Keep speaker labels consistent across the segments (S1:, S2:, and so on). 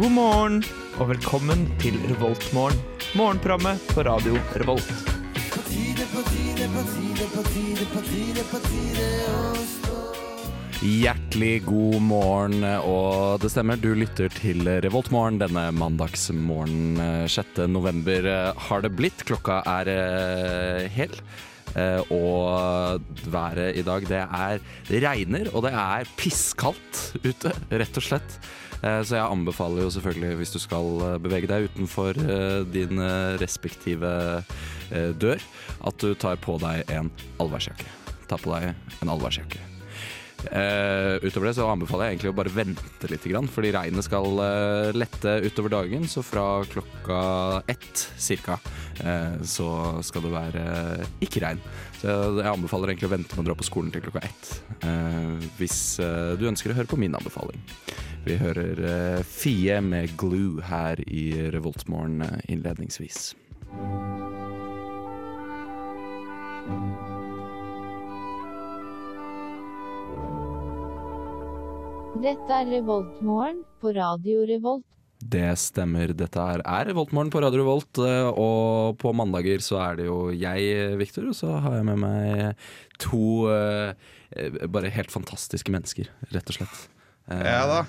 S1: God morgen og velkommen til Revoltmorgen. Morgenprogrammet på radio Revolt.
S2: Hjertelig god morgen, og det stemmer, du lytter til Revoltmorgen denne mandagsmorgenen eh, 6. november eh, har det blitt. Klokka er eh, hel. eh, Og været i dag, det er Det regner, og det er pisskaldt ute, rett og slett. Eh, Så jeg anbefaler jo selvfølgelig, hvis du skal eh, bevege deg utenfor eh, din eh, respektive eh, dør, at du tar på deg en allværsjakke. Ta på deg en allværsjakke. Eh, utover det så anbefaler jeg egentlig å bare vente litt, grann, fordi regnet skal eh, lette utover dagen. Så fra klokka ett cirka eh, så skal det være eh, ikke regn. Så jeg anbefaler egentlig å vente med å dra på skolen til klokka ett. Eh, hvis eh, du ønsker å høre på min anbefaling. Vi hører eh, Fie med 'Glue' her i Revoltmorgen eh, innledningsvis.
S3: Dette er Revoltmorgen på Radio Revolt.
S2: Det stemmer. Dette her er Revoltmorgen på Radio Revolt. eh, Og på mandager så er det jo jeg, Viktor, og så har jeg med meg to eh, eh, bare helt fantastiske mennesker, rett og slett. Eh,
S4: Ja da.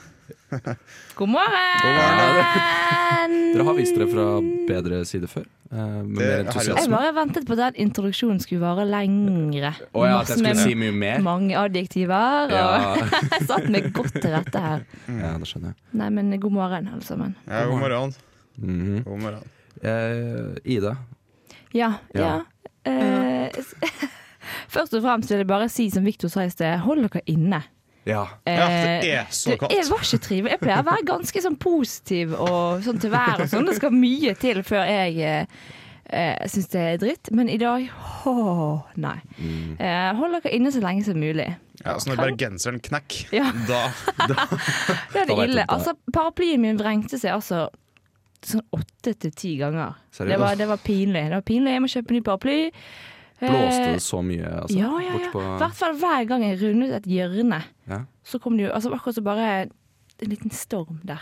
S5: God morgen!
S2: Dere har vist dere fra bedre side før. eh, Med mer
S4: Det har vi.
S5: Jeg
S2: entusiasme.
S5: bare ventet på at den introduksjonen skulle vare lengre.
S2: Å ja, at jeg skulle si mye mer.
S5: mange adjektiver,
S2: Ja.
S5: og jeg satt meg godt til rette her.
S2: ja, det skjønner jeg.
S5: Nei, men god morgen, alle sammen.
S4: Ja, god morgen.
S2: Mhm.
S4: God morgen.
S2: Eh, Ida.
S5: Ja, ja.
S2: Ja.
S5: Eh, s- først og fremst vil jeg bare si som Victor sa i sted, hold dere inne.
S2: Ja.
S4: Ja, det
S5: Eh,
S4: er så
S5: det er-
S4: kaldt.
S5: var ikke trivelig. Jeg pleier å være ganske sånn positiv og sånn til været og sånn. Det skal mye til før jeg eh, eh, syns det er dritt. Men i dag åh, nei.
S2: Mm.
S5: Eh, hold dere inne så lenge som mulig.
S4: Ja, så når bergenseren knekk,
S5: Ja.
S4: da
S5: Det er det
S2: Da vet jeg
S5: ille.
S2: det.
S5: Altså, paraplyen min vrengte seg altså sånn åtte til ti ganger.
S2: Seriøst?
S5: Det var, det var pinlig. Det var pinlig. Jeg må kjøpe ny paraply. Eh,
S2: Blåste det så mye, altså?
S5: ja, ja, ja.
S2: bort på-
S5: I hvert fall hver gang jeg rundet et hjørne,
S2: Ja.
S5: så kom det jo altså, akkurat så bare en liten storm der.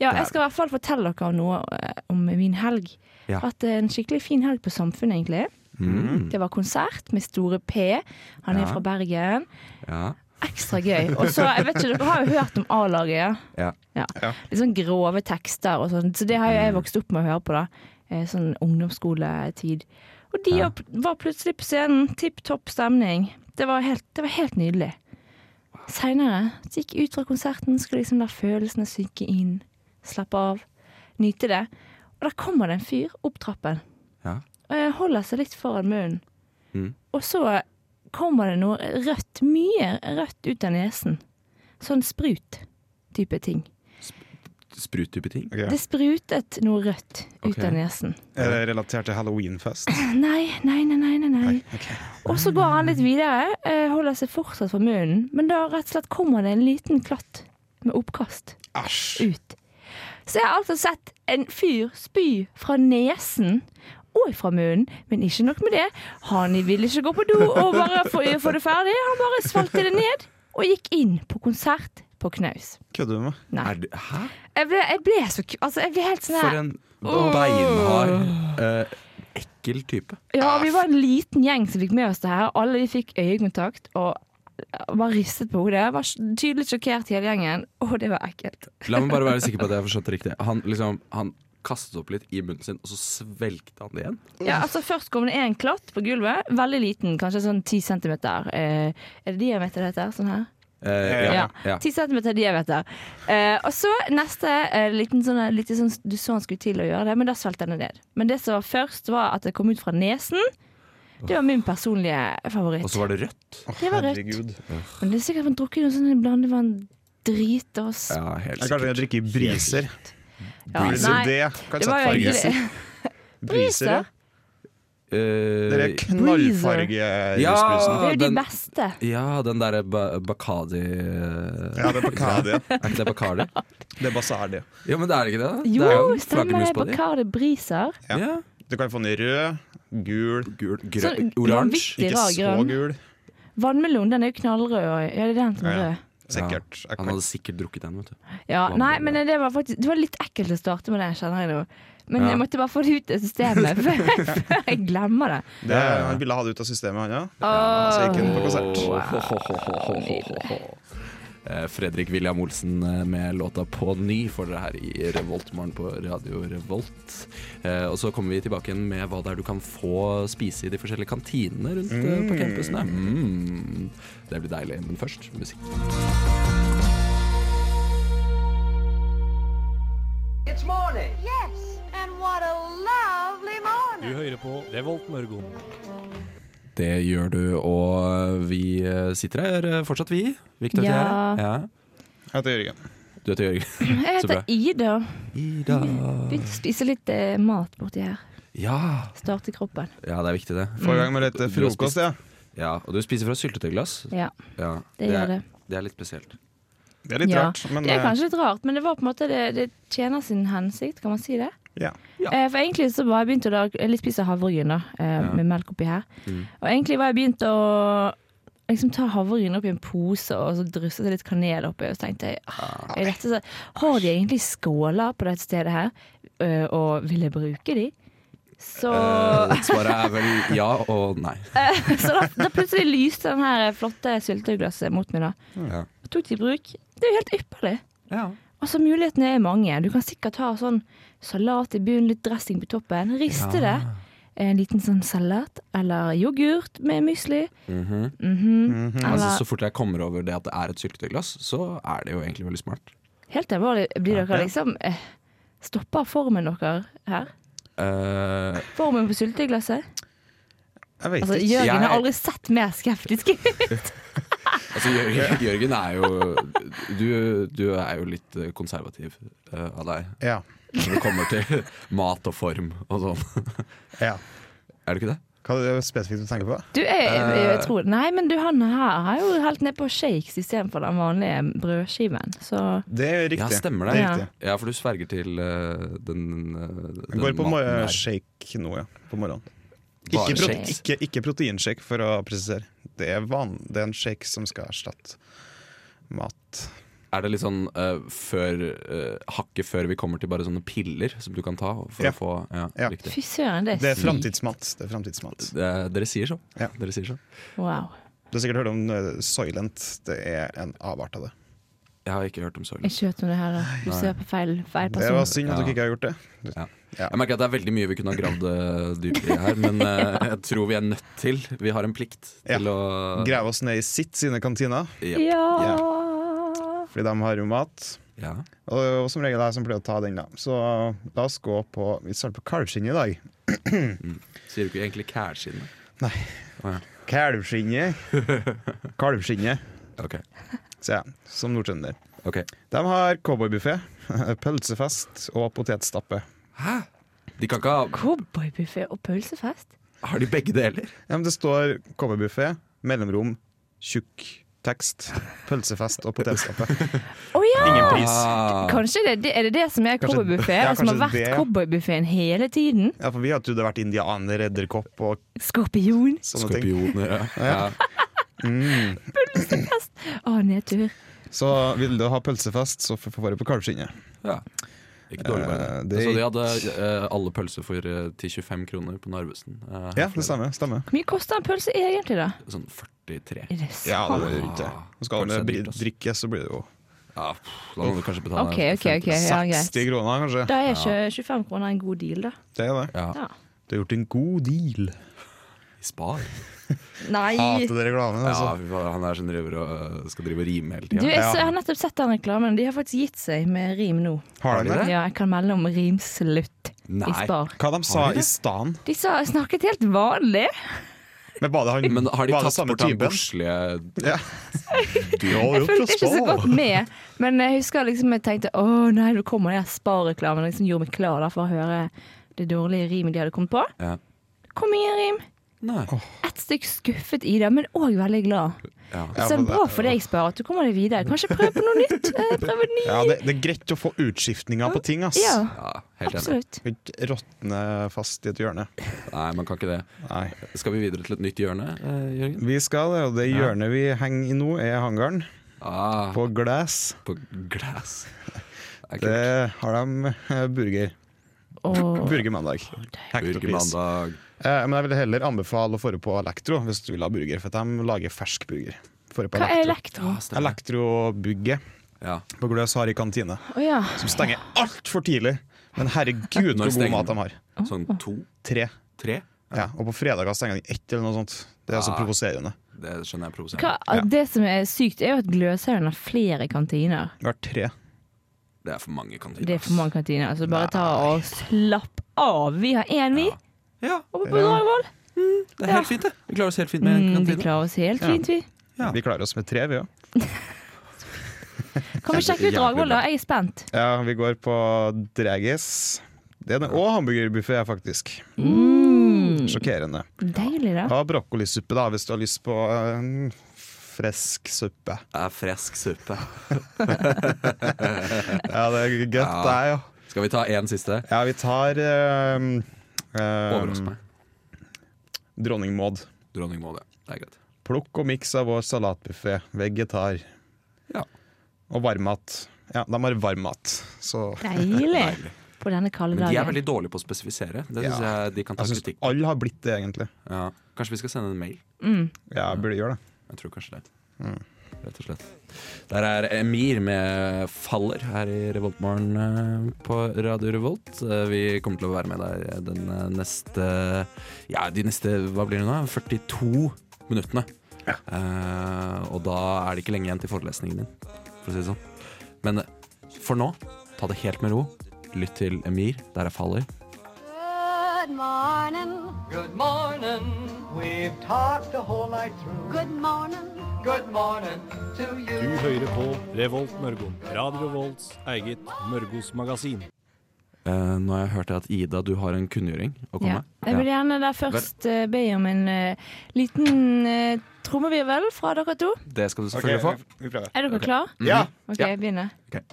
S5: Ja, jeg skal i hvert fall fortelle dere om noe eh, om min helg.
S2: Ja.
S5: At det er en skikkelig fin helg på Samfunnet, egentlig.
S2: Mm.
S5: Det var konsert med Store P. Han er
S2: Ja.
S5: fra Bergen.
S2: ja.
S5: Ekstra gøy. Og så, jeg vet ikke, dere har jo hørt om A-laget, ja?
S2: Ja.
S4: Ja.
S5: Litt sånn grove tekster og sånn. Så det har jo jeg vokst opp med å høre på, da. Eh, Sånn ungdomsskoletid. Og de
S2: Ja.
S5: opp- var plutselig på scenen. Tipp topp stemning. Det var helt, det var helt nydelig. Seinere så gikk jeg ut fra konserten, skulle liksom la følelsene synke inn. Slappe av. Nyte det. Og da kommer det en fyr opp trappen.
S2: Ja.
S5: Og jeg holder seg litt foran munnen.
S2: Mm.
S5: Og så kommer det noe rødt, mye rødt ut av nesen. Sånn sprut-type ting.
S2: Spruttype ting.
S4: Ok.
S5: Det sprutet noe rødt ut
S2: Ok.
S5: av nesen.
S4: Er det Eh, relatert til halloweenfest?
S5: Nei, nei, nei, nei, nei. nei. Og så går han litt videre, eh, holder seg fortsatt for munnen, men da rett og slett kommer det en liten klatt med oppkast
S4: Æsj.
S5: ut. Så jeg har altså sett en fyr spy fra nesen og fra munnen, men ikke nok med det. Han ville ikke gå på do og bare få, få det ferdig, han bare svelgte det ned og gikk inn på konsert på knaus.
S4: Kødder du med meg?
S5: Nei.
S2: Er det, hæ?
S5: Jeg ble, jeg ble så ku- Altså, jeg ble helt sånn her
S2: For en beinhard, eh, ekkel type.
S5: Ja, vi var en liten gjeng som fikk med oss det her. Alle vi fikk øyekontakt og bare ristet på hodet. Var tydelig sjokkert hele gjengen. Å, det var ekkelt.
S2: La meg bare være sikker på at jeg har forstått det riktig. Han, liksom, han kastet opp litt i munnen sin, og så svelgte han det igjen.
S5: Ja, altså Først kom det en klatt på gulvet. Veldig liten, kanskje sånn 10 centimeter. Eh, er det diameter det heter? Sånn her?
S2: Eh, ja,
S5: Ja.
S2: ja.
S5: 10 centimeter diameter. Eh, og så neste eh, liten sånn, litt sånn Du så han skulle til å gjøre det, men da svelget han det ned. Men det som var først, var at det kom ut fra nesen. Det var min personlige favoritt.
S2: Og så var det rødt.
S4: Å,
S5: Det var rødt.
S4: herregud.
S5: Men det er sikkert han drukket noe sånn blandevann-drit og s-
S2: Ja, helt
S4: Jeg klarte ikke å
S2: sikkert.
S4: drikke briser.
S5: Ja,
S4: Briser,
S5: nei,
S4: det kan
S5: det
S4: jeg
S5: var jo
S4: sette farge.
S5: egentlig
S4: Briser, ja.
S2: Eh,
S4: Det er knallfargerusbrusen.
S5: Det er jo de
S2: Ah, den-
S5: beste.
S2: ja, den derre ba Bacardi eh,
S4: Ja, det er Bacardi. ja.
S2: Er ikke det Bacardi?
S4: Det er Basardi.
S2: Ja, men det er det ikke det? da? det er
S5: Jo,
S2: en
S5: stemmer det.
S2: flaggermus på de.
S5: Bacardi Briser.
S4: Ja.
S2: Ja.
S4: Du kan få den i rød, gul,
S2: Gul, grønn,
S5: Sånn
S2: oransje.
S5: vanvittig
S4: ikke
S5: rar
S4: så
S5: grønn.
S4: gul.
S5: Vannmelon den er jo knallrød. og- Ja, det er den som er
S4: Ja, ja.
S5: rød.
S4: Sikkert.
S2: Ja, han hadde sikkert drukket den, vet du.
S5: Ja,
S2: Hva
S5: nei,
S2: med
S5: men
S2: det?
S5: det var faktisk Det var litt ekkelt å starte med det, kjenner jeg nå. Men
S2: Ja.
S5: jeg måtte bare få det ut av systemet før jeg, før jeg glemmer det.
S4: Det, han ville ha det ut av systemet, han, ja.
S2: altså,
S4: Så gikk han på konsert.
S2: Eh, Fredrik William Olsen eh, med låta 'På ny' for dere her i Revoltmorgen på Radio Revolt. Eh, Og så kommer vi tilbake igjen med hva det er du kan få spise i de forskjellige kantinene rundt eh, på campusene. Mm. Det blir deilig. Men først musikk.
S6: It's morning.
S7: Yes, and what a lovely morning.
S8: Du hører på Revolt Mørgon.
S2: Det gjør du, og vi eh, sitter her eh, fortsatt, vi. Viktor
S5: Ja.
S2: Thea. Ja.
S4: Jeg heter Jørgen.
S2: Du heter Jørgen.
S5: Jeg
S2: Så bra.
S5: heter Ida.
S2: Ida.
S5: Begynte å spise litt eh, mat borti her.
S2: Ja.
S5: Starte kroppen.
S2: ja, det er viktig, det.
S4: Få i gang med litt eh,
S2: Du har spist-
S4: frokost, ja.
S2: Ja, Og du spiser fra syltetøyglass.
S5: Ja,
S2: Ja,
S5: det, gjør
S2: er,
S5: det.
S2: det er litt spesielt.
S4: Det er litt
S5: ja.
S4: rart, men
S5: det er
S4: eh,
S5: kanskje litt rart, men det var på en måte det, det tjener sin hensikt, kan man si det?
S4: ja.
S2: Ja.
S5: Eh, for egentlig så var jeg begynt å lage litt spise havregryn da, eh, med melk oppi her. Og egentlig var jeg begynt å liksom ta havregryn oppi en pose og så drysset det litt kanel oppi. Og så tenkte jeg, ah, er dette så, har de egentlig skåler på dette stedet her? Eh, og vil jeg bruke de? Så,
S2: Eh, svaret er vel ja og nei.
S5: så da, da plutselig lyste den her flotte sylteglasset mot meg da.
S2: Ja.
S5: Og tok det i bruk. Det er jo helt ypperlig.
S2: Ja.
S5: Altså Mulighetene er mange. Du kan sikkert ha sånn salat i bunnen, litt dressing på toppen. Riste det. En liten sånn salat eller yoghurt med mysli.
S2: Altså,
S4: Mhm.
S5: Eller,
S2: så fort jeg kommer over det at det er et syltetøyglass, så er det jo egentlig veldig smart.
S5: helt alvorlig, blir dere liksom eh, Stopper formen dere her?
S2: Eh,
S5: Formen på sylteglasset?
S4: Jeg vet
S5: Altså,
S4: ikke.
S5: Jørgen har
S2: Jeg-
S5: aldri sett mer skeptisk
S2: altså, Jørgen, Jørgen er jo du, du er jo litt eh, konservativ eh, av deg.
S4: Ja.
S2: Når det kommer til mat og form og sånn.
S4: ja.
S2: Er det ikke det?
S4: Hva er det spesifikt du tenker på?
S5: Du, jeg, jeg,
S2: Eh.
S5: jeg tror Nei, men du, han her har jo helt ned på shakes istedenfor den vanlige brødskiven. Så
S4: Det er riktig.
S2: Ja, stemmer det.
S4: Det er
S5: Ja.
S4: riktig.
S2: Ja, for du sverger til eh, den, eh, den
S4: Jeg går på
S2: maten
S4: mor-
S2: der.
S4: shake nå, ja. På morgenen.
S2: Bare
S4: Ikke, pro
S2: shakes.
S4: ikke, ikke proteinshake, for å presisere. Det er, van det er en shake som skal erstatte mat.
S2: Er det litt sånn eh, før, eh, hakket før vi kommer til bare sånne piller som du kan ta for
S4: Ja.
S2: å få ja,
S4: Ja.
S2: riktig?
S5: fy søren, det
S4: Det
S5: er
S4: er framtidsmat. Det er framtidsmat.
S2: Det, dere sier så.
S4: Ja.
S2: Dere sier så.
S5: Wow.
S4: Du har sikkert hørt om eh, Soylent. Det er en avart av det.
S2: Jeg har ikke hørt om Soylent.
S5: Ikke vet om det her, da. Du ser på feil, feil
S4: Det var
S5: person.
S4: synd at
S2: Ja.
S4: dere ikke har gjort det.
S2: Jeg merker at det er veldig mye vi kunne ha gravd eh, dypere i her, men eh, jeg tror vi er nødt til Vi har en plikt
S4: Ja.
S2: til å
S4: Grave oss ned i sitt sine kantiner,
S2: Ja.
S5: Ja.
S4: fordi de har jo mat.
S2: Ja.
S4: Og, og som regel er jeg som pleier å ta den, da. Så la oss gå på Vi starter på kalvskinnet i dag.
S2: Sier du ikke egentlig kælskinne?
S4: Kalvskinnet. Kalvskinnet,
S2: Ok.
S4: sier jeg, som nordtrønder.
S2: ok.
S4: De har cowboybuffé, pølsefest og potetstappe.
S2: De kan ikke ha
S5: Cowboybuffé og pølsefest?
S2: Har de begge deler?
S4: Ja, men det står cowboybuffé, mellomrom, tjukk tekst, pølsefest og potetstappe.
S5: Å ja!
S4: Ingen pris.
S2: Ah.
S5: Kanskje det, det, er det det som er
S4: Kanskje-
S5: cowboybuffé?
S4: ja,
S5: og som har
S4: kanskje
S5: vært
S4: det.
S5: cowboybuffeen hele tiden?
S4: Ja, for vi hadde jo det vært indianer, edderkopp og
S5: Skorpion?
S4: sånne ting. Mm.
S2: Skorpioner, ja. ja.
S5: Å, nedtur.
S4: Så vil du ha pølsefest, så får får du på kalvskinnet.
S2: ja. Ikke dårlig bare.
S4: Eh, det
S2: altså, de
S4: gikk-
S2: hadde eh, alle pølser for eh, til 25 kroner på Narvesen. eh, her
S4: Ja,
S2: forleden.
S4: det stemmer. stemmer.
S5: Hvor mye koster en pølse egentlig, da?
S2: Sånn 43.
S5: Er det
S4: Ja,
S5: sant?
S4: det er rundt det. Og skal
S2: Kanskje
S4: du
S2: det er dyrt, ass.
S4: drikke, så blir det jo
S2: Ja, pff, da må du kanskje betale
S5: OK, OK, OK. Ja, greit.
S4: 60 kroner, kanskje.
S5: Da er ikke 25 kroner en god deal, da.
S4: Det er det.
S2: Ja,
S5: Ja.
S4: Du har gjort en god deal.
S2: i Spar.
S5: Nei!
S4: Hater det reklamen,
S2: Ja,
S4: altså.
S2: fy faen, han er som driver og øh, skal drive og rime hele
S5: Du,
S2: tida.
S5: jeg, så, jeg har nettopp sett den reklamen. De har faktisk gitt seg med rim nå.
S4: Har de det?
S5: Ja, jeg kan melde om rimslutt i
S2: Nei.
S5: Spar.
S4: Hva de sa
S2: Har de
S4: i
S2: det?
S4: stan?
S5: De sa, snakket helt vanlig.
S4: Men var det han
S2: Men har de
S4: var det
S2: tatt
S4: samme
S2: bort han
S4: typen?
S2: bordslige
S4: Ja.
S5: Jeg fulgte ikke så godt med, men jeg husker liksom jeg tenkte å nei, nå kommer den der Spar-reklamen. Liksom gjorde meg klar da, for å høre det dårlige rimet de hadde kommet på.
S2: Ja.
S5: Kom igjen, rim!
S2: Nei.
S5: Ett stykk skuffet i det, men òg veldig glad.
S2: Ja.
S4: Ja,
S5: Så
S4: men
S5: bra
S4: det-
S5: for deg, Spar, at du kommer deg videre. Kanskje prøve på noe nytt? Eh, Prøve ny
S4: Ja, det, det er greit å få utskiftninger på ting, ass.
S5: Ja,
S2: ja, helt enig.
S5: absolutt.
S4: Skal Ikke råtne fast i et hjørne.
S2: Nei, man kan ikke det.
S4: Nei.
S2: Skal vi videre til et nytt hjørne, eh, Jørgen?
S4: Vi skal det, og det hjørnet vi henger i nå, er hangaren.
S2: Ah,
S4: på glass.
S2: på glass. Det er kult.
S4: Det har de eh, burger.
S5: Og
S4: Burger mandag. Hekt og pris.
S2: Burgermandag.
S4: Eh, Men jeg vil heller anbefale å få det på Elektro hvis du vil ha burger, for de lager fersk burger. Få det på
S5: hva er
S4: Elektro.
S5: elektro?
S4: Elektrobygget
S2: Ja.
S4: på Gløs har i kantine,
S5: Å ja.
S4: som stenger altfor tidlig. Men
S2: Når
S4: herregud, hvor god
S2: stenger
S4: mat de
S2: den?
S4: har.
S2: Sånn to,
S4: Tre.
S2: tre.
S4: Ja, og på fredager stenger de ett, eller noe sånt. Det er så
S2: Ah.
S4: provoserende.
S2: Det skjønner jeg er
S5: Hva,
S2: provoserende.
S5: det som er sykt, er jo at Gløshaugen har flere kantiner.
S4: Vi har tre.
S2: Det er for mange kantiner.
S5: Det er for
S2: ass.
S5: mange kantiner. Altså bare ta og slapp av. Vi har én, vi.
S2: Ja,
S5: Oppe på Dragvoll.
S2: det er helt fint, det. Vi klarer oss helt fint med
S5: Mm, vi
S2: kantine.
S5: klarer oss helt fint, vi.
S2: Ja.
S4: Vi klarer oss med tre, vi òg.
S5: Kan vi sjekke ut Dragvoll, da? Jeg er spent.
S4: Ja, vi går på Dragis. Det er den og hamburgerbuffé, faktisk.
S2: Mm.
S4: Sjokkerende.
S5: Deilig, da.
S4: Ha brokkolisuppe, da, hvis du har lyst på en frisk suppe.
S2: Det er frisk suppe.
S4: Ja, det er godt,
S2: Ja.
S4: det er jo.
S2: Skal vi ta én siste?
S4: Ja, vi tar ehm, ehm,
S2: Overrask meg.
S4: Dronning Maud.
S2: Dronning Maud, ja. Det er greit.
S4: Plukk og miks av vår salatbuffé. Vegetar.
S2: Ja.
S4: Og varmmat. Ja, de har varmmat. Så
S5: Deilig.
S2: Deilig.
S5: På denne kalde
S2: Men de er veldig
S5: dagen.
S2: dårlige på å spesifisere. Det
S4: Ja.
S2: syns jeg de kan ta
S4: jeg syns
S2: kritikk på.
S4: alle har blitt det, egentlig.
S2: Ja. Kanskje vi skal sende en mail?
S5: Mm,
S4: Ja, jeg burde gjøre det.
S2: Jeg tror kanskje det. Rett og slett. Der er Emir med 'Faller' her i Revoltmorgen eh, på Radio Revolt. Eh, Vi kommer til å være med deg den eh, neste Ja, de neste hva blir det nå? 42 minuttene. Eh, og da er det ikke lenge igjen til forelesningen din, for å si det sånn. Men eh, for nå, ta det helt med ro. Lytt til Emir, der er 'Faller'.
S7: Good morning.
S6: Good morning. We've talked the whole night through.
S7: Good morning.
S6: Good morning to you.
S8: Du hører på Revolt Mørgo. Radio Revolts eget Mørgos magasin.
S2: Eh, nå har jeg hørt at Ida, du har en kunngjøring å komme
S5: Ja.
S2: med.
S5: Jeg vil gjerne da først eh, be om en eh, liten eh, trommevirvel fra dere to.
S2: Det skal du selvfølgelig få.
S4: vi, vi prøver.
S5: Er dere klare?
S4: Ja!
S2: Mm-hmm.
S5: OK,
S2: Ja.
S5: jeg begynner.
S2: Ok.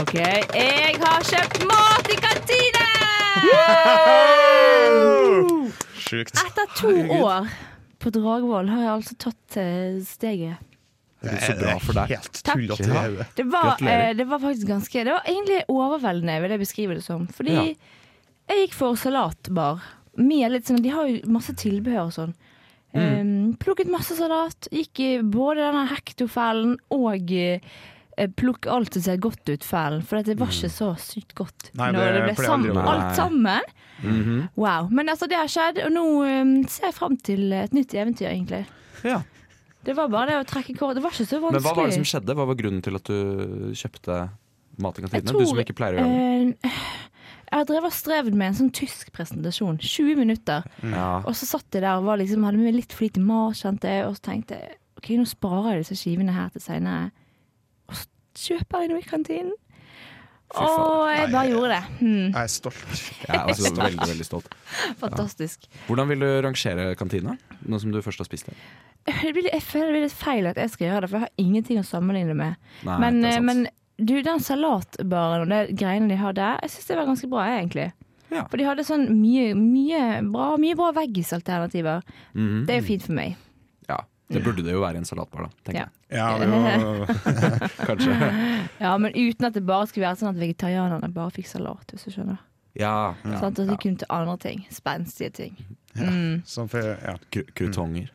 S5: OK. Jeg har kjøpt mat i kantinen!
S4: Sjukt.
S5: Etter to år på Dragvoll har jeg altså tatt eh, steget.
S2: Så bra for deg.
S4: Helt tullete i
S2: Ja.
S4: hodet.
S5: Det var,
S2: Gratulerer.
S5: eh, det var faktisk ganske Det var egentlig overveldende, vil jeg beskrive det som. Fordi
S2: Ja.
S5: jeg gikk for salatbar. Med litt sånn, de har jo masse tilbehør og sånn.
S2: Mm.
S5: Eh, plukket masse salat. Gikk i både denne hektofellen og eh, plukk alt som ser godt ut-fellen. For at det
S2: Mm.
S5: var ikke så sykt godt
S4: Nei,
S5: når det,
S4: det
S5: ble
S4: pleier aldri å
S5: sammen,
S2: være. Mhm.
S5: alt sammen. Wow. Men altså, det har skjedd, og nå eh, ser jeg fram til et nytt eventyr, egentlig.
S2: Ja.
S5: Det var bare det å trekke kort. Det var ikke så vanskelig.
S2: Men hva var det som skjedde? Hva var grunnen til at du kjøpte mat i
S5: Jeg
S2: kantinene?
S5: tror-
S2: Du som ikke pleier å gjøre det.
S5: Eh, jeg har drevet og strevd med en sånn tysk presentasjon. 20 minutter.
S2: Ja.
S5: Og så satt jeg der og var liksom, hadde med litt for lite mat, kjente jeg. Og så tenkte jeg OK, nå sparer jeg disse skivene her til seinere. Og så kjøper jeg noe i kantinen. Og jeg bare gjorde det. Hmm,
S4: Jeg er stolt.
S2: altså, Jeg er også veldig, veldig stolt.
S5: fantastisk.
S2: Hvordan vil du rangere kantina, nå som du først har spist det?
S5: Det blir, jeg føler det blir litt feil at jeg skal gjøre det, for jeg har ingenting å sammenligne med.
S2: Nei,
S5: men,
S2: det
S5: eh,
S2: er sant.
S5: men du, den salatbaren og de greiene de har der, jeg syns det var ganske bra, jeg, egentlig.
S2: Ja.
S5: For de hadde sånn mye, mye bra, mye bra veggisalternativer.
S2: Mhm.
S5: Det er jo fint for meg.
S2: Ja. Det burde det jo være i en salatbar, da. tenker
S5: Ja.
S2: jeg.
S4: Ja, det var
S2: Kanskje.
S5: Ja, men uten at det bare skulle være sånn at vegetarianerne bare fikk salat, hvis du skjønner.
S2: Ja.
S5: Ja,
S2: ja.
S5: sånn, og de kunne til andre ting. Spenstige ting. Mm.
S4: som for, ja.
S2: Kru- Krutonger.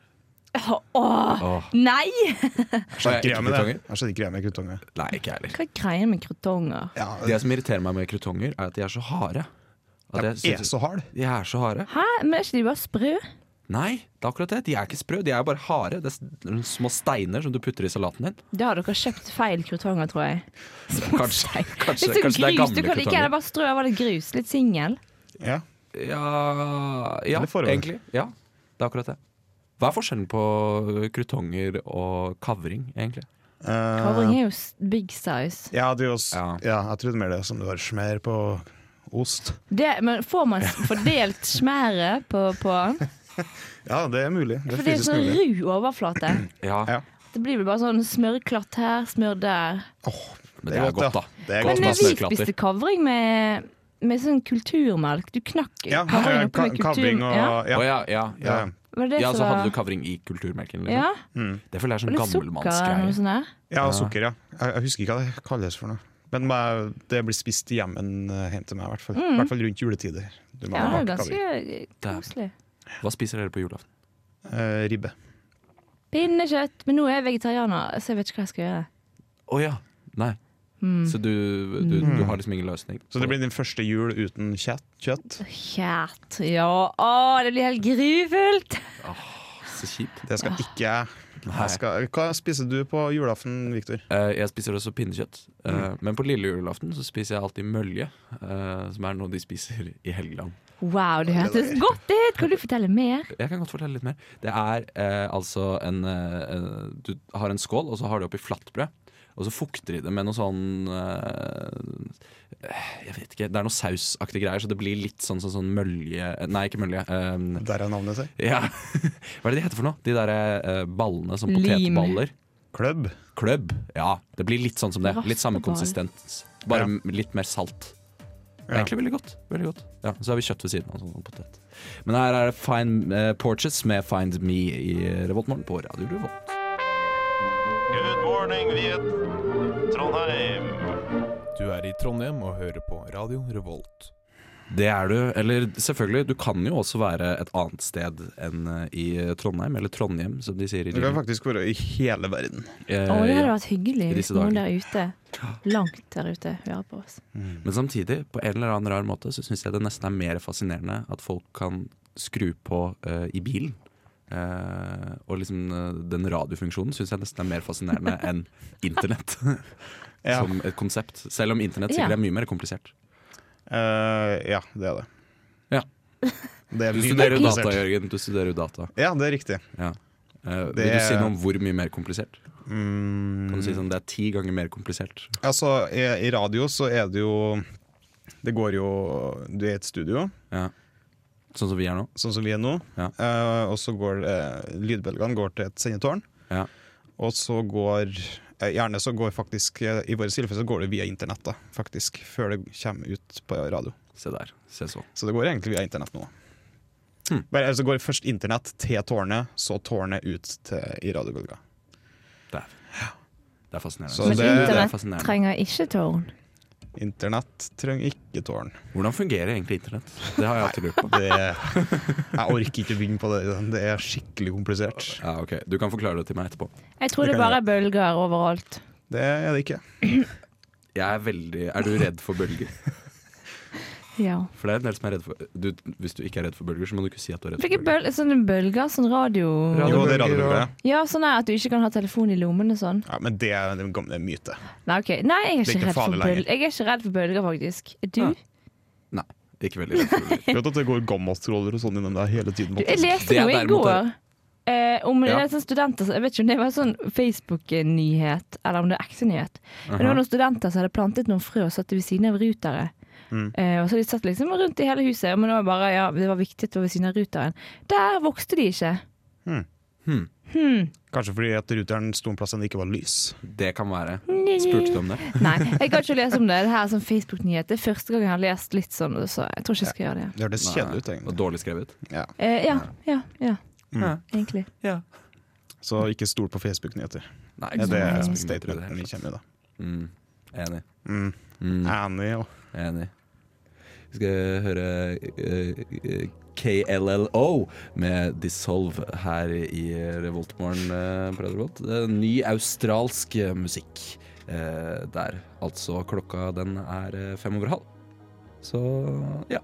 S5: Åh, Åh, nei!
S4: Jeg skjønner ikke
S2: Ikke
S4: greia med det.
S2: krutonger?
S4: Jeg skjønner ikke greia med krutonger.
S2: Nei, ikke jeg heller.
S5: Hva er greia med krutonger?
S4: Ja,
S2: Det som irriterer meg med krutonger, er at de er så harde. At jeg
S4: jeg er
S2: synes-
S4: så hard.
S2: de er så harde.
S5: Hæ, men er ikke de bare sprø?
S2: Nei, det er akkurat det. De er ikke sprø, de er bare harde. Det er s- små steiner som du putter i salaten din.
S5: Da har dere kjøpt feil krutonger, tror jeg.
S2: Kanskje,
S5: Litt
S2: kanskje,
S5: sånn
S2: kanskje det er
S5: grus, du
S2: gamle
S5: kan ikke
S2: krutonger.
S5: heller bare strø over litt grus. Litt singel.
S4: Ja.
S2: Ja, ja
S4: Eller forhud.
S2: egentlig. Ja, det er akkurat det. Hva er forskjellen på krutonger og kavring, egentlig?
S5: Kavring er jo s- big size.
S4: Eh, ja, du også,
S2: Ja.
S4: ja, jeg trodde mer det som du har smer på ost.
S5: Det, men får man fordelt smæret på, på den?
S4: Ja, det er mulig. Det
S5: For
S4: er
S5: det er jo
S4: fysisk
S5: sånn
S4: mulig.
S5: ru overflate.
S2: Ja,
S4: Ja.
S5: Det blir vel bare sånn smørklatt her, smør der.
S2: men det er godt, da.
S4: Det er
S2: Godt
S5: Men
S4: godt. altså.
S2: med
S5: eh, vi
S2: smørklatter.
S5: spiste kavring med, med sånn kulturmelk. Du knakk
S4: Ja,
S5: kavring
S4: eh,
S5: oppi
S4: ka-
S5: med kultur...
S4: kavring og
S5: ja.
S2: Å
S4: ja.
S2: ja, ja, ja.
S4: Ja,
S5: Var det det
S2: Ja,
S5: som
S2: så hadde
S5: var-
S2: du kavring i kulturmelken. Liksom.
S5: ja,
S2: Det føler jeg
S5: og
S2: er
S5: litt
S2: sånn
S5: sukker eller noe
S2: gammelmannsgreie.
S5: sånt. der.
S4: Ja, sukker, ja. Jeg, jeg husker ikke hva det kalles for noe. Men må jeg- det blir spist hjemme hjem til meg, i hvert fall. I hvert fall rundt juletider. Du må
S5: Mm. Ja, det
S4: ha
S5: er
S4: hardt kavring.
S5: ganske koselig.
S2: Hva spiser dere på julaften?
S4: Eh, ribbe.
S5: Pinnekjøtt. Men nå er jeg vegetarianer, så jeg vet ikke hva jeg skal gjøre.
S2: Å ja. Nei.
S5: Hmm.
S2: Så du, du, du har liksom ingen løsning?
S4: Så det blir din første jul uten kjøtt? kjøtt.
S5: Kjært. Ja, å, det blir helt grufullt!
S2: Så kjipt.
S4: Det skal ikke jeg. jeg skal, hva spiser du på julaften, Viktor?
S2: Eh, jeg spiser også pinnekjøtt. Eh, Men på lille julaften så spiser jeg alltid mølje, eh, som er noe de spiser i Helgeland.
S5: Wow, det hørtes godt ut! Kan du fortelle mer?
S2: Jeg kan godt fortelle litt mer. Det er eh, altså en eh, eh, Du har en skål, og så har du oppi flatbrød. Og så fukter de det med noe sånn eh, eh, Jeg vet ikke. Det er noe sausaktige greier, så det blir litt sånn, sånn, sånn mølje Nei, ikke mølje. eh,
S4: Der er navnet sitt.
S2: ja. Hva er det de heter for noe? De derre eh, ballene som
S5: Lim.
S2: potetballer.
S4: Klubb.
S2: Kløbb. Ja, det blir litt sånn som det. Litt samme
S5: Raspeball.
S2: konsistens. Bare
S4: Ja.
S2: m- litt mer salt. Det er
S4: Ja.
S2: Egentlig veldig godt. Veldig godt. Ja, så har vi kjøtt ved siden av. Sånn, og potet. Men her er det Fine eh, Porches med Find Me i Revoltmorgen på Radio Revolt.
S9: Good morning, Viet. Trondheim.
S8: Du er i Trondheim og hører på Radio Revolt.
S2: Det er du. Eller selvfølgelig, du kan jo også være et annet sted enn eh, i Trondheim. Eller Trondheim, som de sier i
S4: Du kan
S2: Trondheim.
S4: faktisk være i hele verden.
S2: Eh,
S5: Å, det
S2: ja.
S5: hadde vært hyggelig
S2: I
S5: hvis
S2: disse dager.
S5: noen der ute, langt der ute, hører på oss.
S2: Men samtidig, på en eller annen rar måte, så syns jeg det nesten er mer fascinerende at folk kan skru på eh, i bilen. Eh, og liksom eh, den radiofunksjonen syns jeg nesten er mer fascinerende enn internett
S4: Ja.
S2: som et konsept. Selv om internett
S5: Ja.
S2: sikkert er mye mer komplisert.
S4: Eh, ja, det er det.
S2: Ja.
S4: Det er
S2: Du
S4: mye
S2: studerer jo
S4: mer
S2: data,
S4: komplisert.
S2: Jørgen. Du studerer jo data.
S4: Ja, det er riktig.
S2: Ja. Eh, vil
S4: Det
S2: du si
S4: er-
S2: noe om hvor mye mer komplisert?
S4: Mm.
S2: Kan du si sånn, Det er ti ganger mer komplisert.
S4: Altså, i, i radio så er det jo Det går jo Du er i et studio,
S2: Ja. Sånn som vi er nå.
S4: sånn som vi er nå.
S2: Ja.
S4: Eh, og så går eh, lydbølgene går til et sendetårn.
S2: Ja.
S4: Og så går eh, Gjerne så går faktisk eh, I vårt tilfelle så går det via internett, da, faktisk. Før det kommer ut på radio.
S2: Se der. Se så.
S4: Så det går egentlig via internett nå.
S2: Hmm.
S4: Bare, altså går først internett til tårnet, så tårnet ut til, i radiobølga.
S2: Der. Det er fascinerende.
S4: Så
S5: Men
S4: det- det er
S5: internett
S2: fascinerende.
S5: trenger ikke tårn.
S4: Internett trenger ikke tårn.
S2: Hvordan fungerer egentlig internett? Det har jeg alltid lurt på.
S4: Det, jeg orker ikke å begynne på det. Det er skikkelig komplisert.
S2: Ja, ok. Du kan forklare det til meg etterpå.
S5: Jeg tror det bare er bølger overalt.
S4: Det er det ikke.
S2: Jeg Er veldig Er du redd for bølger?
S5: Ja.
S2: For det er en del som er redd for du, Hvis du ikke er redd for bølger, så må du ikke si at du er redd for
S5: Hvilke
S2: bølger.
S5: bølger? Sånne bølger? Sånn radio...
S2: Radio-
S4: Jo, det er radiobølger.
S5: Ja, sånn er at du ikke kan ha telefon i lommen og sånn.
S4: Ja, men det er en gamle myte.
S5: Nei, ok. Nei, jeg
S4: Det er
S5: er ikke
S4: ikke
S5: redd for
S4: farlig lenger.
S5: bølger. Jeg er ikke redd for bølger, faktisk. Er Du?
S2: Ja. Nei, ikke veldig redd for bølger.
S4: Vet at det går gammatroller og sånn innom deg hele tiden.
S5: Du, jeg leste
S2: Det er
S5: noe i
S2: derimot
S5: går. Eh, om det
S2: Ja.
S5: er sånn studenter som- Jeg vet ikke om det var en sånn Facebook-nyhet, eller om det er ekte nyhet. Men det var noen studenter som hadde plantet noen frø og satt det ved siden av rutere.
S2: Mm.
S5: Eh, og så hadde de satt liksom rundt i hele huset, men det var bare, ja, det var viktig at det var ved siden av ruteren. Der vokste de ikke.
S4: Kanskje fordi at ruteren sto en plass den ikke var lys.
S2: Det kan være. Spurte du om det?
S5: Nei, jeg kan ikke lese om det. Det her er sånn Facebook-nyhet. Det er første gang jeg har lest litt sånn, så jeg tror ikke jeg skal gjøre det. igjen.
S4: Det hørtes kjedelig ut,
S2: Og
S4: egentlig.
S2: dårlig skrevet?
S5: Eh, ja, ja, ja.
S2: Mm.
S5: Egentlig.
S2: Ja.
S4: Så ikke stol på Facebook-nyheter.
S2: Nei, ikke
S4: Det er
S2: sånn Facebook-nyheter i det
S4: statementen vi
S2: hele tatt.
S4: kommer med, da.
S2: Mm. Enig.
S4: Mm.
S2: Mm.
S4: Annie og
S2: Enig. Vi skal høre eh, eh, KLLO med 'Dissolve' her i Revoltmorgen eh, på Radio Revolt. Eh, Ny australsk eh, musikk eh, der. Altså, klokka den er eh, fem over halv. Så ja,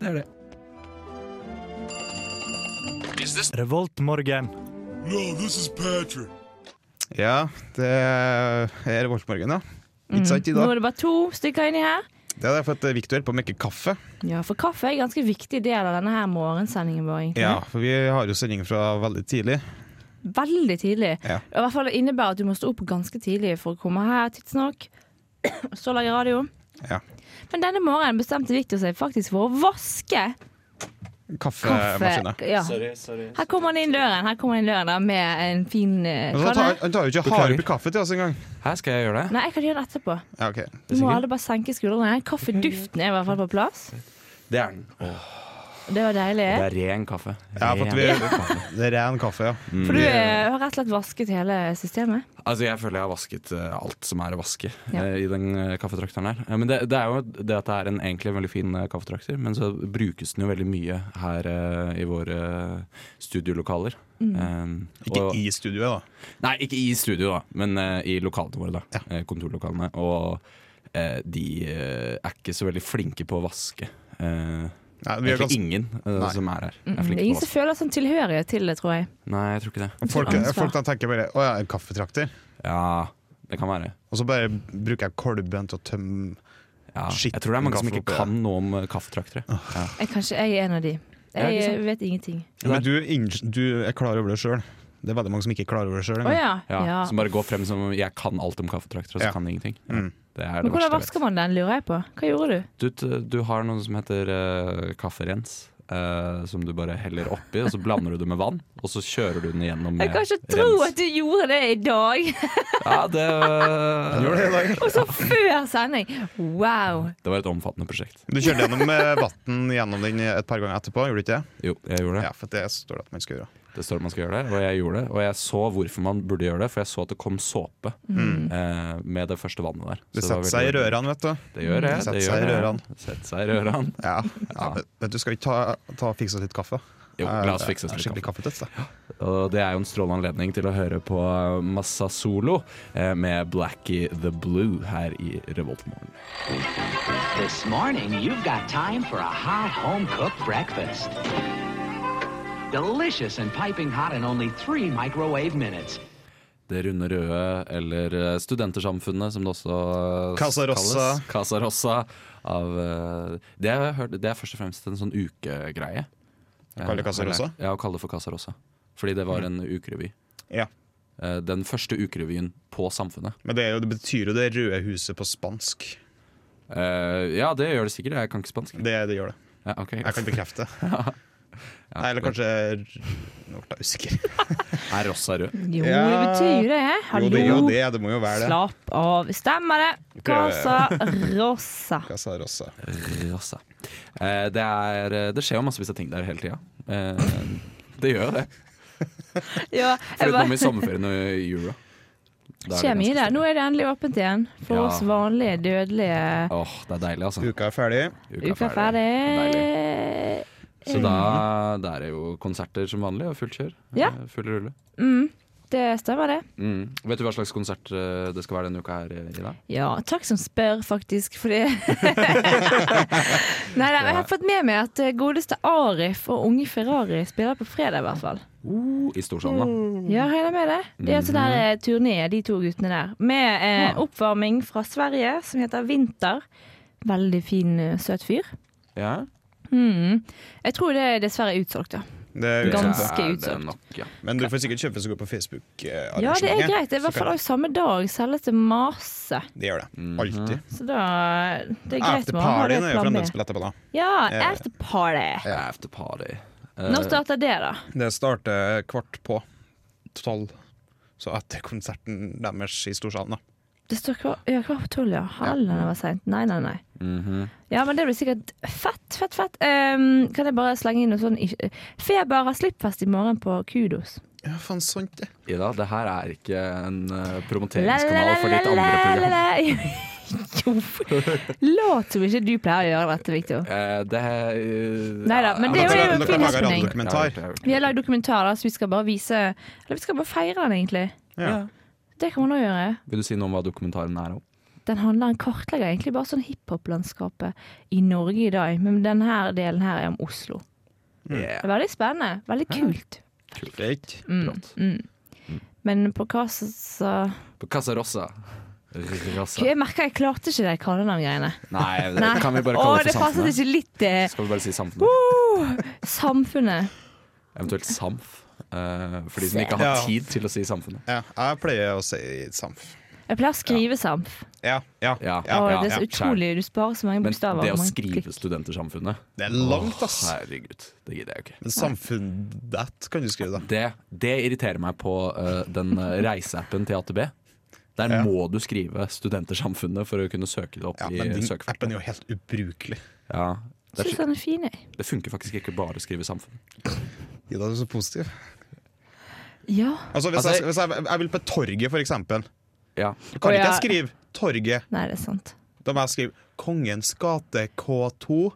S2: det er det.
S1: Revoltmorgen.
S4: Ja, det er Voldsmorgen, ja.
S5: Mm.
S4: Ikke sant,
S5: Nå
S4: Ida?
S5: er det bare to stykker inni her.
S4: Det er derfor at eh, Victor holder på å mekke kaffe.
S5: Ja, for kaffe er en ganske viktig del av denne her morgensendingen vår, egentlig.
S4: Ja, for vi har jo sending fra veldig tidlig.
S5: Veldig tidlig.
S4: Ja.
S5: Og I hvert fall det innebærer at du må stå opp ganske tidlig for å komme her tidsnok. Og så lage radio.
S4: Ja.
S5: Men denne morgenen bestemte Victor seg faktisk for å vaske
S4: Kaffemaskina.
S5: kaffe. Ja. Her kommer han inn døren Her kommer han inn døren da, med en fin
S4: Men
S5: eh,
S4: så
S5: hva er
S4: tar,
S5: det?
S4: han tar jo ikke
S2: Beklager.
S4: hard opp i kaffe til oss engang.
S2: Her skal jeg gjøre det.
S5: Nei, jeg kan gjøre det etterpå.
S4: Ja, ok.
S5: Du må alle bare senke skuldrene. Kaffeduften er i hvert fall på plass.
S2: Det er den.
S5: Det var deilig.
S2: Det er ren kaffe.
S4: Ja, for at vi-
S2: Ren kaffe.
S4: Det er ren kaffe, ja.
S5: For du eh, har rett og slett vasket hele systemet.
S2: Altså, jeg føler jeg har vasket eh, alt som er å vaske
S5: Ja.
S2: eh, i den eh, kaffetrakteren her. Eh, men det, det er jo det at det er en egentlig veldig fin eh, kaffetrakter, men så brukes den jo veldig mye her eh, i våre studiolokaler.
S5: Mm.
S2: Eh,
S4: Ikke
S2: og-
S4: i studioet, da.
S2: Nei, ikke i studio, da, men eh, i lokalene våre. da Eh, Kontorlokalene. Og eh, de eh, er ikke så veldig flinke på å vaske. Eh,
S4: Nei, vi er
S2: egentlig
S4: ganske-
S2: ingen eh,
S4: Nei.
S2: som er her, er
S5: Mm, det er
S2: flinke på å
S5: ingen som
S2: vaske.
S5: føler sånn tilhørighet til det, tror jeg.
S2: Nei, jeg tror ikke det.
S4: Folk,
S5: Ansvar.
S4: folk da tenker bare å ja, en kaffetrakter.
S2: Ja, det kan være.
S4: Og så bare bruker jeg kolben til å tømme
S2: Ja.
S4: Shit,
S2: Jeg tror det er mange som
S4: kaffe
S2: ikke
S4: oppi
S2: kan noe om eh, kaffetraktere. Ja.
S5: jeg kanskje jeg er en av de.
S2: Ja,
S5: Jeg
S2: ikke sant?
S5: eh, vet ingenting.
S4: Men du, inns- du er klar over det sjøl. Det er veldig mange som ikke er klar over det sjøl.
S5: Å ja.
S2: Ja,
S5: ja.
S2: Som bare går frem som jeg kan alt om kaffetrakter, og så
S4: Ja.
S2: kan jeg ingenting.
S4: Mm.
S2: Det er
S5: Men
S2: det
S5: hvordan
S2: verste jeg vet.
S5: vasker man den, lurer jeg på. Hva gjorde du?
S2: Du, t- du har noe som heter eh, kafferens. eh, som du bare heller oppi, og så blander du det med vann. Og så kjører du den igjennom med
S5: Jeg kan ikke tro
S2: rens.
S5: at du gjorde det i dag!
S2: Ja, det, eh,
S4: Gjør det i dag.
S5: Og så før sending! Wow!
S2: det var et omfattende prosjekt.
S4: Du kjørte gjennom vann gjennom den et par ganger etterpå, gjorde du ikke det?
S2: Jo, jeg gjorde det.
S4: Ja, for det står det at man skal gjøre.
S2: Det står at man skal gjøre det, og jeg gjorde det. Og jeg så hvorfor man burde gjøre det, for jeg så at det kom såpe
S5: Mm.
S2: eh, med det første vannet der.
S4: Det
S2: Så var
S4: setter seg i
S2: veldig-
S4: rørene, vet du.
S2: Det gjør det.
S4: Det setter
S2: det
S4: seg i
S2: gjør det.
S4: rørene.
S2: Setter seg i rørene.
S4: Ja. ja men, vet du, skal vi ta, ta og fikse oss litt kaffe?
S2: Jo, la oss fikse oss
S4: Jeg er
S2: litt
S4: Skikkelig
S2: kaffe.
S4: kaffetøtt. da.
S2: Og det er jo en strålende anledning til å høre på Massasolo eh, med Blackie the Blue her i Revoltmorgen.
S10: This morning, you've got time for a hot home cooked breakfast. Delicious and piping hot in only three microwave minutes.
S2: Det runde røde, eller eh, Studentersamfunnet, som det også eh,
S4: Casa Rossa.
S2: kalles. Casa Rossa. Av, eh, det, har jeg hørt, det er først og fremst en sånn ukegreie.
S4: kalle det Casa
S2: Eh,
S4: Rossa?
S2: Ja, å kalle det for Casa Rossa. Fordi det var en ukerevy.
S4: Ja.
S2: Eh, Den første ukerevyen på Samfunnet.
S4: Men det, er jo, det betyr jo det røde huset på spansk.
S2: Eh, ja, det gjør det sikkert. Jeg kan ikke spansk.
S4: Det, det gjør det.
S2: Ja, ok.
S4: Jeg kan bekrefte.
S2: Ja,
S4: Nei, eller
S2: det-
S4: kanskje Nå ble jeg usikker.
S2: Er Rossa rød?
S5: Jo,
S4: Ja.
S5: det betyr jo det.
S4: Jo,
S5: Hallo!
S4: det er jo det. Det må jo være det.
S5: Slapp av. Stemmer det! Casa Rosa.
S4: Casa Rosa.
S2: Rossa. Eh, det, er, eh, det skjer jo massevis av ting der hele tida. Eh, det gjør jo det.
S5: Ja, jeg
S2: Foruten
S5: bare-
S2: om i sommerferien og i jula. Da er
S5: Skjer
S2: ganske
S5: mye der.
S2: stille.
S5: Nå er det endelig åpent igjen for
S2: Ja.
S5: oss vanlige dødelige.
S2: Åh, det er deilig, altså.
S4: Uka er ferdig.
S5: Uka er ferdig. Mm.
S2: Deilig. Så da det er det jo konserter som vanlig, og fullt kjør.
S5: Ja.
S2: Eh, Full rulle.
S5: Mm, det stemmer, det.
S2: Mm. Vet du hva slags konsert eh, det skal være denne uka her, Ida?
S5: Ja, takk som spør, faktisk, for det Nei, nei, jeg har fått med meg at eh, godeste Arif og Unge Ferrari spiller på fredag, i hvert fall.
S2: I Storsalen, da.
S5: Ja, regner med det. Det er en sånn der eh, turné, de to guttene der. Med eh, oppvarming fra Sverige, som heter Vinter. Veldig fin, eh, søt fyr.
S2: Ja.
S5: Mm. Jeg tror det er dessverre utsolgt, ja.
S4: Det er
S5: Ganske
S4: utsolgt,
S2: Det er
S5: utsolgt.
S2: nok, ja.
S4: Men du får sikkert kjøpe så godt på Facebook-arrangementet.
S5: Ja, det er greit. Det er i hvert fall også samme dag selges det masse.
S4: Det gjør det. Alltid.
S5: Så da Det er greit
S4: After
S5: med å ha det
S4: partyen er jo
S5: plan B.
S4: fremdeles på etterpå, da.
S5: Ja,
S4: Ja.
S5: after party.
S2: After party. Eh,
S5: Når starter det, da?
S4: Det starter kvart på tolv. Så etter konserten deres i Storsalen, da.
S5: Det står kvar, ja, kvar på tolv, ja. Hallen det var seint. Nei, nei, nei.
S2: mhm.
S5: Ja, men det blir sikkert fett, fett, fett. Ehm, kan jeg bare slenge inn noe sånn ikke- Feber har slippfest i morgen på Kudos.
S4: Ja, faen, sant det.
S2: Ida, det her er ikke en eh,
S5: La, la, la,
S2: promoteringskanal for
S5: la,
S2: ditt andre
S5: la, la,
S2: program.
S5: la. Jo, lat som ikke du pleier å gjøre dette, Victor.
S2: Eh, det uh,
S5: Neida, men det er jo
S4: Dere
S5: en
S4: dere
S5: fin
S4: lager
S5: happening.
S4: radiodokumentar.
S5: Vi har lagd dokumentar, da, så vi skal bare vise Eller vi skal bare feire den, egentlig.
S4: Ja.
S5: Det kan man òg gjøre.
S2: Vil du si noe om hva dokumentaren er om?
S5: Den handler en kartlegger egentlig bare sånn hiphop-landskapet i Norge i dag, men denne delen her er om Oslo.
S4: Mm.
S5: Det er veldig spennende. Veldig kult.
S4: Greit.
S5: Mm. Men på hva så, så
S2: På Casa Rossa. Rossa.
S5: Jeg merker jeg klarte ikke de kallenavngreiene.
S2: Nei, det
S5: Nei.
S2: kan vi bare
S5: Å,
S2: kalle det
S5: det
S2: for
S5: passet
S2: Samfunnet.
S5: ikke litt eh,
S2: Skal vi bare si Samfunnet?
S5: Samfunnet.
S2: Eventuelt Samf. eh, for de som ikke
S4: Ja.
S2: har tid til å si Samfunnet.
S4: Ja, jeg pleier å si Samf.
S5: Jeg pleier å skrive Samf.
S4: Ja, ja,
S2: Ja, ja,
S5: Å, det er
S2: ja.
S5: så utrolig. Du sparer så mange
S2: Men
S5: bokstaver.
S2: det å
S5: og mange klikk.
S2: skrive Studentersamfunnet
S4: Det er langt, ass.
S2: Åh, Herregud, det gidder jeg jo ikke.
S4: Men samfunnet kan du skrive, da.
S2: Det, det irriterer meg på eh, den eh, reiseappen til AtB. Der
S4: Ja.
S2: må du skrive Studentersamfunnet for å kunne søke det opp
S4: Ja,
S2: i
S4: men din
S2: søkefeltet.
S4: appen er jo helt ubrukelig.
S2: Ja, det er
S5: Syns han er fin, jeg.
S2: Det funker faktisk ikke bare å skrive samfunn.
S4: Ida, du er så positiv.
S5: Ja.
S4: Altså, hvis,
S2: Altså,
S4: jeg, hvis jeg, jeg vil på torget, for eksempel,
S2: Ja.
S4: så kan
S5: Å,
S4: ikke
S5: ja.
S4: jeg skrive 'Torget'.
S5: Nei, det er sant.
S4: Da må jeg skrive 'Kongens gate K2'.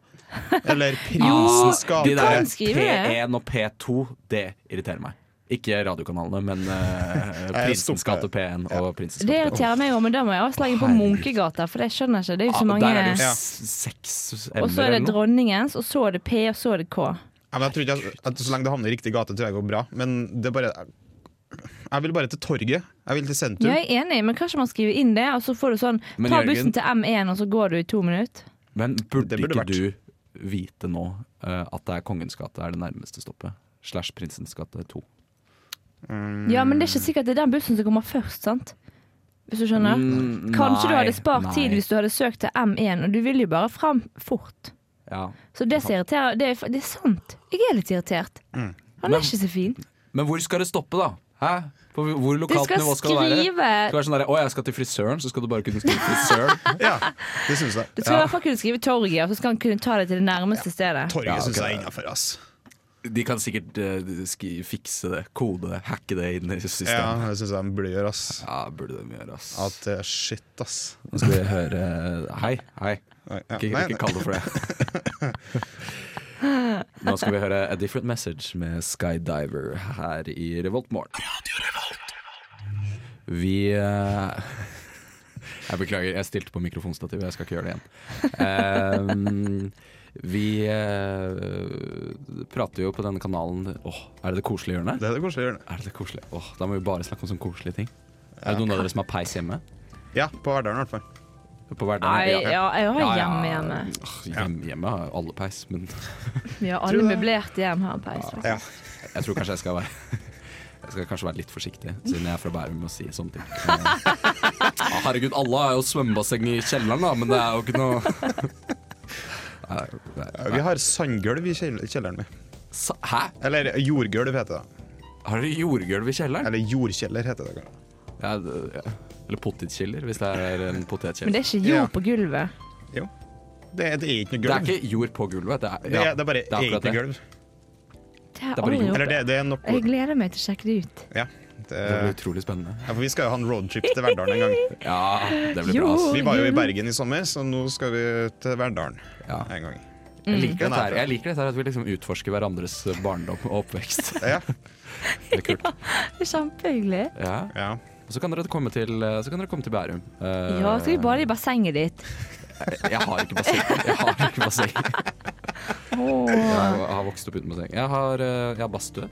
S4: Eller
S2: Ah,
S4: 'Prinsens
S2: de
S4: gate'.
S2: der
S5: skrive det.
S2: P1 og P2, det irriterer meg. Ikke radiokanalene, men eh,
S4: Jeg
S2: Prinsens gate
S4: stopper.
S2: P1 og Prinsens
S5: Det
S2: gate P2.
S5: irriterer meg òg, men da må jeg også legge på
S2: Herregud.
S5: Munkegata, for det skjønner jeg ikke. Det er jo
S2: Ja,
S5: ikke så mange
S2: Der er det jo
S4: Ja.
S2: s- seks
S5: Og så
S2: m-er
S5: er
S2: eller noe.
S5: det dronningens, og så er det P, og så er det K.
S4: Ja, men jeg tror ikke jeg, at Så lenge det havner i riktig gate, tror jeg det går bra. Men det er bare Jeg vil bare til torget. Jeg vil til sentrum.
S5: Ja, jeg er enig, men kanskje man skriver inn det, og så får du sånn
S2: Men
S5: Ta
S2: Jørgen-
S5: bussen til M1, og så går du i to minutter.
S2: Men burde,
S4: Det burde
S2: ikke
S4: vært.
S2: du vite nå eh, at det er Kongens gate er det nærmeste stoppet? Slash Prinsens gate 2.
S5: Ja,
S2: Mm.
S5: men det er ikke sikkert det er den bussen som kommer først, sant? Hvis du skjønner?
S2: Mm,
S5: Kanskje du
S2: nei,
S5: hadde spart
S2: nei.
S5: tid hvis du hadde søkt til M1, og du vil jo bare fram fort.
S2: Ja.
S5: Så det som irriterer det er, fa- det er sant. Jeg er litt irritert. Han
S2: Men-
S5: er ikke så fin.
S2: Men hvor skal det stoppe, da? Hæ? På hvor
S5: Du
S2: lokalt
S5: skal
S2: nivå skal det være?
S5: skrive
S2: Det skal være sånn der, Å, jeg skal til frisøren, så skal du bare kunne skrive frisøren.
S4: Ja, det syns jeg.
S5: Du skal i hvert fall kunne skrive torget, og så skal han kunne ta deg til det nærmeste stedet.
S4: Torget
S2: Ja,
S4: synes
S2: ok.
S4: jeg er innafor, ass.
S2: De kan sikkert eh, ski, fikse det, kode det, hacke det inn i systemet. Ja.
S4: Ja, det syns jeg de burde gjøre, ass.
S2: burde de gjøre, ass.
S4: At eh, shit, ass.
S2: Nå skal vi høre eh, Hei, hei.
S4: Nei, ja,
S2: Ikke,
S4: nei,
S2: ikke
S4: nei.
S2: kall det for det. Nå skal vi høre A Different Message med Skydiver her i Revolt Morgen. Vi eh, Jeg beklager, jeg stilte på mikrofonstativet. Jeg skal ikke gjøre det igjen. Ehm, vi eh, prater jo på denne kanalen Åh, er det det koselige hjørnet?
S4: Det er det koselige hjørnet.
S2: Er det det koselige? Åh, da må vi bare snakke om sånne koselige ting. Er det noen av dere som har peis hjemme?
S4: Ja, på Verdalen i hvert fall.
S2: På hverdagene?
S5: Nei, ja, jeg har
S2: Ja, ja.
S5: hjemme hjemme.
S2: Åh, hjem- Hjemme har alle peis, men
S5: Vi har alle møblerte hjem her på Eidsvoll.
S4: Ja.
S2: jeg tror kanskje jeg skal være Jeg skal kanskje være litt forsiktig, siden jeg er fra Bærum og sier sånne ting. Eh, ah, herregud, alle har jo svømmebasseng i kjelleren, da, men det er jo ikke noe Nei, nei,
S4: Vi har sandgulv i kjell- kjelleren min.
S2: sa- Hæ?
S4: Eller jordgulv heter det.
S2: Har dere jordgulv i kjelleren?
S4: Eller jordkjeller heter det. kanskje.
S2: Ja, det- ja. Eller potetkjeller, hvis det er en
S5: Men
S2: potetkjeller.
S5: det er ikke
S4: Ja.
S5: jord på gulvet.
S4: Det, det er ikke noe
S2: Det er
S4: gulv.
S2: ikke jord på gulvet. Det er,
S4: Det er, det er bare
S2: akkurat
S4: egentlig gulv.
S5: Det
S2: Det er
S5: har
S2: bare
S5: jeg aldri
S2: jord.
S5: gjort.
S4: Eller det, det er nok
S5: Jeg gleder meg til å sjekke det ut.
S4: Ja. Det,
S2: Det blir utrolig spennende.
S4: ja, for vi skal jo ha en roadtrip til Verdalen en gang.
S2: Ja, det blir
S5: Jo.
S2: bra. ass.
S4: Vi var jo i Bergen i sommer, så nå skal vi til Verdalen
S2: Ja.
S4: en gang.
S2: Jeg liker dette
S4: Den er
S2: her,
S4: fra-
S2: jeg liker dette her at vi liksom utforsker hverandres barndom og oppvekst.
S4: Ja,
S2: Det er kult.
S5: Det er kjempehyggelig.
S2: Ja.
S4: ja.
S2: Og så kan dere komme til, så kan dere komme til Bærum. Eh,
S5: Ja, skal vi bade i bassenget ditt?
S2: Jeg har ikke basseng. Jeg har ikke basseng.
S5: Åh.
S2: Jeg har vokst opp uten basseng. Jeg har, eh, jeg har badstue.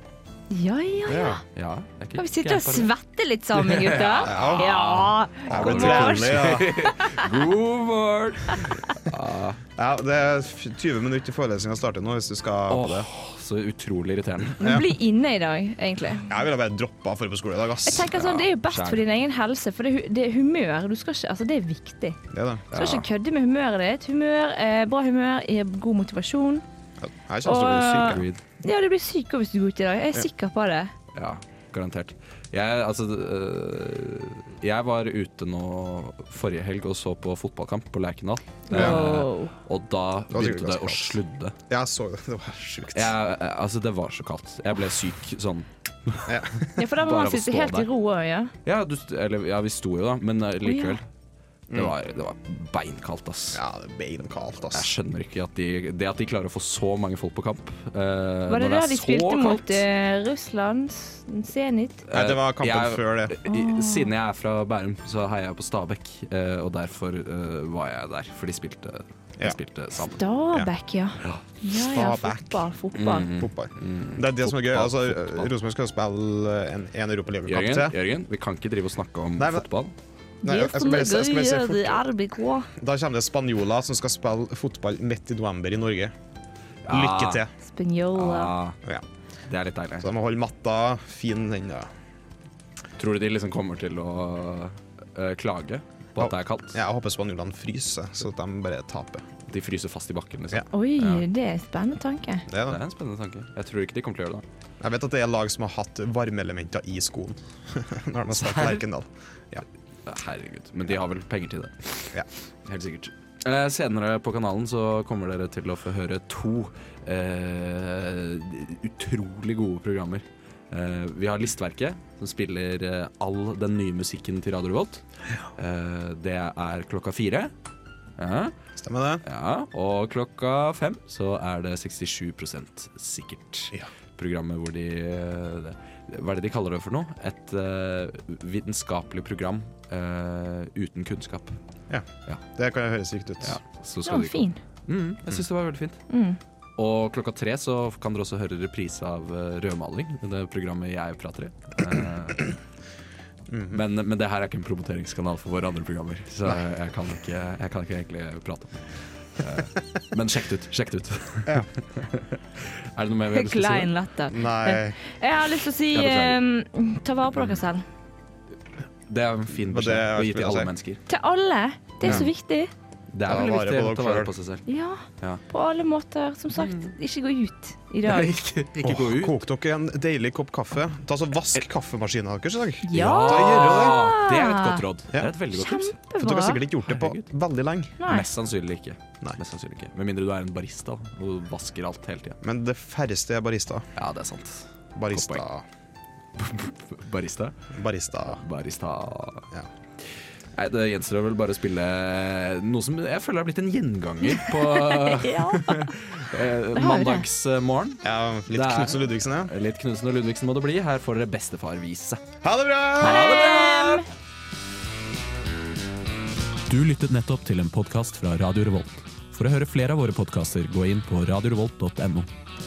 S5: Ja, ja, ja.
S4: ja.
S2: Ja, jeg er ikke-
S5: Kan vi sitte og
S2: ikke jeg
S5: svette litt sammen, gutter? Ja.
S4: Ja,
S2: God
S4: det er
S2: morgen.
S4: trevlig, ja.
S2: bare- God morgen!
S4: Ja, det er f- 20 minutter til forelesninga starter nå, hvis du skal på det.
S2: Åh, så utrolig irriterende.
S5: Men bli inne i dag, egentlig.
S4: Jeg ville bare droppa for på skole i dag, ass.
S5: Jeg tenker sånn, Det er jo best
S2: skjær.
S5: for din egen helse, for det er, hu- det er humør. Du skal ikke, altså, det er viktig. Du
S4: Det er det.
S5: skal ikke kødde med humøret ditt. Humør, eh, Bra humør gir god motivasjon.
S4: Ja, Jeg kjenner
S5: Og-
S4: stor syke.
S2: Agreed.
S5: Ja, du blir syk også hvis du går ut i dag. Jeg er sikker på det.
S2: Ja, garantert. Jeg, altså, øh, jeg var ute nå forrige helg og så på fotballkamp på Lerkendal. Eh,
S5: Wow.
S2: og da
S4: var sikkert
S2: begynte det å
S4: ganske
S2: sludde.
S4: Jeg så det. Det var sjukt.
S2: Jeg, eh, altså, det var så kaldt. Jeg ble syk sånn
S5: Ja, For da må
S2: Bare
S5: man
S2: av å
S5: sitte
S2: stå
S5: helt i
S2: der.
S5: ro òg, ja.
S2: Ja, du, st- eller, ja vi sto jo da, men eh, likevel.
S5: Å,
S2: Det var, det var beinkaldt, ass.
S4: Mm. Ja, det er beinkaldt, ass.
S2: Jeg skjønner ikke at de, det at de klarer å få så mange folk på kamp. eh,
S5: Var det
S2: når
S5: da
S2: er
S5: de
S2: så
S5: spilte mot
S2: kaldt. Eh,
S5: eh, Russland? s- Zenit?
S4: Nei, det var kampen
S2: Jeg-
S4: før det.
S2: I- Siden jeg er fra Bærum, så heier jeg på Stabæk, eh, og derfor eh, var jeg der. For de spilte, de
S4: Ja.
S2: spilte sammen.
S5: Stabæk, ja. Ja,
S4: Stabæk.
S5: ja,
S4: Mm.
S5: fotball, fotball.
S4: Fotball. Det er det som er gøy.
S2: Mm. Fotball,
S4: Altså,
S2: fotball.
S4: Rosenborg skal spille eh, en, en Europaligakamp
S2: Jørgen,
S4: til.
S2: Jørgen, vi kan ikke drive og snakke om
S4: Nei, men-
S2: fotball.
S4: Nei, jeg skal bare se- jeg skal bare se fort-
S5: RBK.
S4: Da kommer det spanjoler som skal spille fotball midt i november i Norge. Lykke til.
S5: Spanjola.
S2: Ah,
S4: Ja.
S2: det er litt deilig.
S4: Så de må holde matta fin den da.
S2: Tror du de liksom kommer til å eh, klage på at det er kaldt?
S4: Jeg håper spanjolene fryser, så at de bare taper.
S2: De fryser fast i bakken, liksom.
S4: Ja.
S5: Oi, det er en spennende tanke.
S4: Det er
S2: Det
S4: det.
S2: er en spennende tanke. Jeg tror ikke de kommer til å gjøre det. da.
S4: Jeg vet at det er lag som har hatt varmeelementer i skoen. Når de har spilt Lerkendal.
S2: Herregud. Men de har vel penger til det.
S4: Ja.
S2: Helt sikkert. Eh, senere på kanalen så kommer dere til å få høre to eh, utrolig gode programmer. Eh, vi har Listverket, som spiller eh, all den nye musikken til Radio Revolt. Eh, det er klokka fire. Ja,
S4: Stemmer det?
S2: ja. Og klokka fem så er det 67 sikkert.
S4: Ja.
S2: Programmet hvor de eh, det, Hva er det de kaller det for noe? Et eh, vitenskapelig program eh, uten kunnskap.
S4: Det kan jo høres riktig ut.
S2: Så
S5: Den var
S2: de-
S5: fin.
S2: Mm, jeg syns det var veldig fint.
S5: Mm.
S2: Og klokka tre så kan dere også høre reprise av eh, rødmaling, det programmet jeg prater i. Eh,
S4: Mhm.
S2: Men, men det her er ikke en promoteringskanal for våre andre programmer, så jeg kan ikke, jeg kan ikke egentlig prate om det. Eh, Men sjekk det ut. Sjekk det ut. er det noe mer vi har lyst til å si?
S5: Klein latter.
S2: Eh,
S4: Nei,
S5: Jeg har lyst til å si
S2: Ja,
S5: eh, ta vare på dere selv.
S2: Det er en fin
S4: Var det
S2: beskjed å gi
S4: alt vi
S2: til
S4: ville
S2: alle
S4: si?
S2: mennesker.
S5: Til alle. Det er så
S2: Ja.
S5: viktig.
S2: Det er
S4: Ta
S2: veldig
S4: vare
S2: viktig
S4: på
S2: å ta
S4: dere
S2: vare
S4: selv.
S2: på seg selv.
S5: Ja,
S2: Ja. Mm.
S5: på alle måter. Som sagt, ikke gå ut i dag.
S2: Ikke, ikke gå ut. Eh.
S4: Kok dere en deilig kopp kaffe. Ta så Vask kaffemaskinen deres i dag.
S5: Ja!
S2: Ja, Det er et godt råd. Det
S4: Ja.
S2: er et veldig godt tips.
S4: For dere har
S5: Kjempebra.
S4: sikkert ikke gjort det på
S2: Herregud.
S4: veldig lenge.
S5: Nei.
S2: Mest sannsynlig ikke.
S4: Nei.
S2: Mest sannsynlig ikke. Med mindre du er en barista og vasker alt hele tida.
S4: Men det færreste er barista.
S2: Ja, det er sant.
S4: Barista.
S2: Barista?
S4: Barista.
S2: Barista
S4: Ja.
S2: Nei, Det gjenstår vel bare å spille noe som jeg føler har blitt en gjenganger på
S5: Ja.
S2: eh, mandagsmorgen.
S4: Ja,
S2: Det
S4: litt
S2: er-
S4: Knutsen og Ludvigsen, ja.
S2: Litt Knutsen og Ludvigsen må det bli. Her får dere Bestefarvise.
S4: Ha det bra!
S11: Du lyttet nettopp til en podkast fra Radio Revolt. For å høre flere av våre podkaster, gå inn på radiorevolt.no.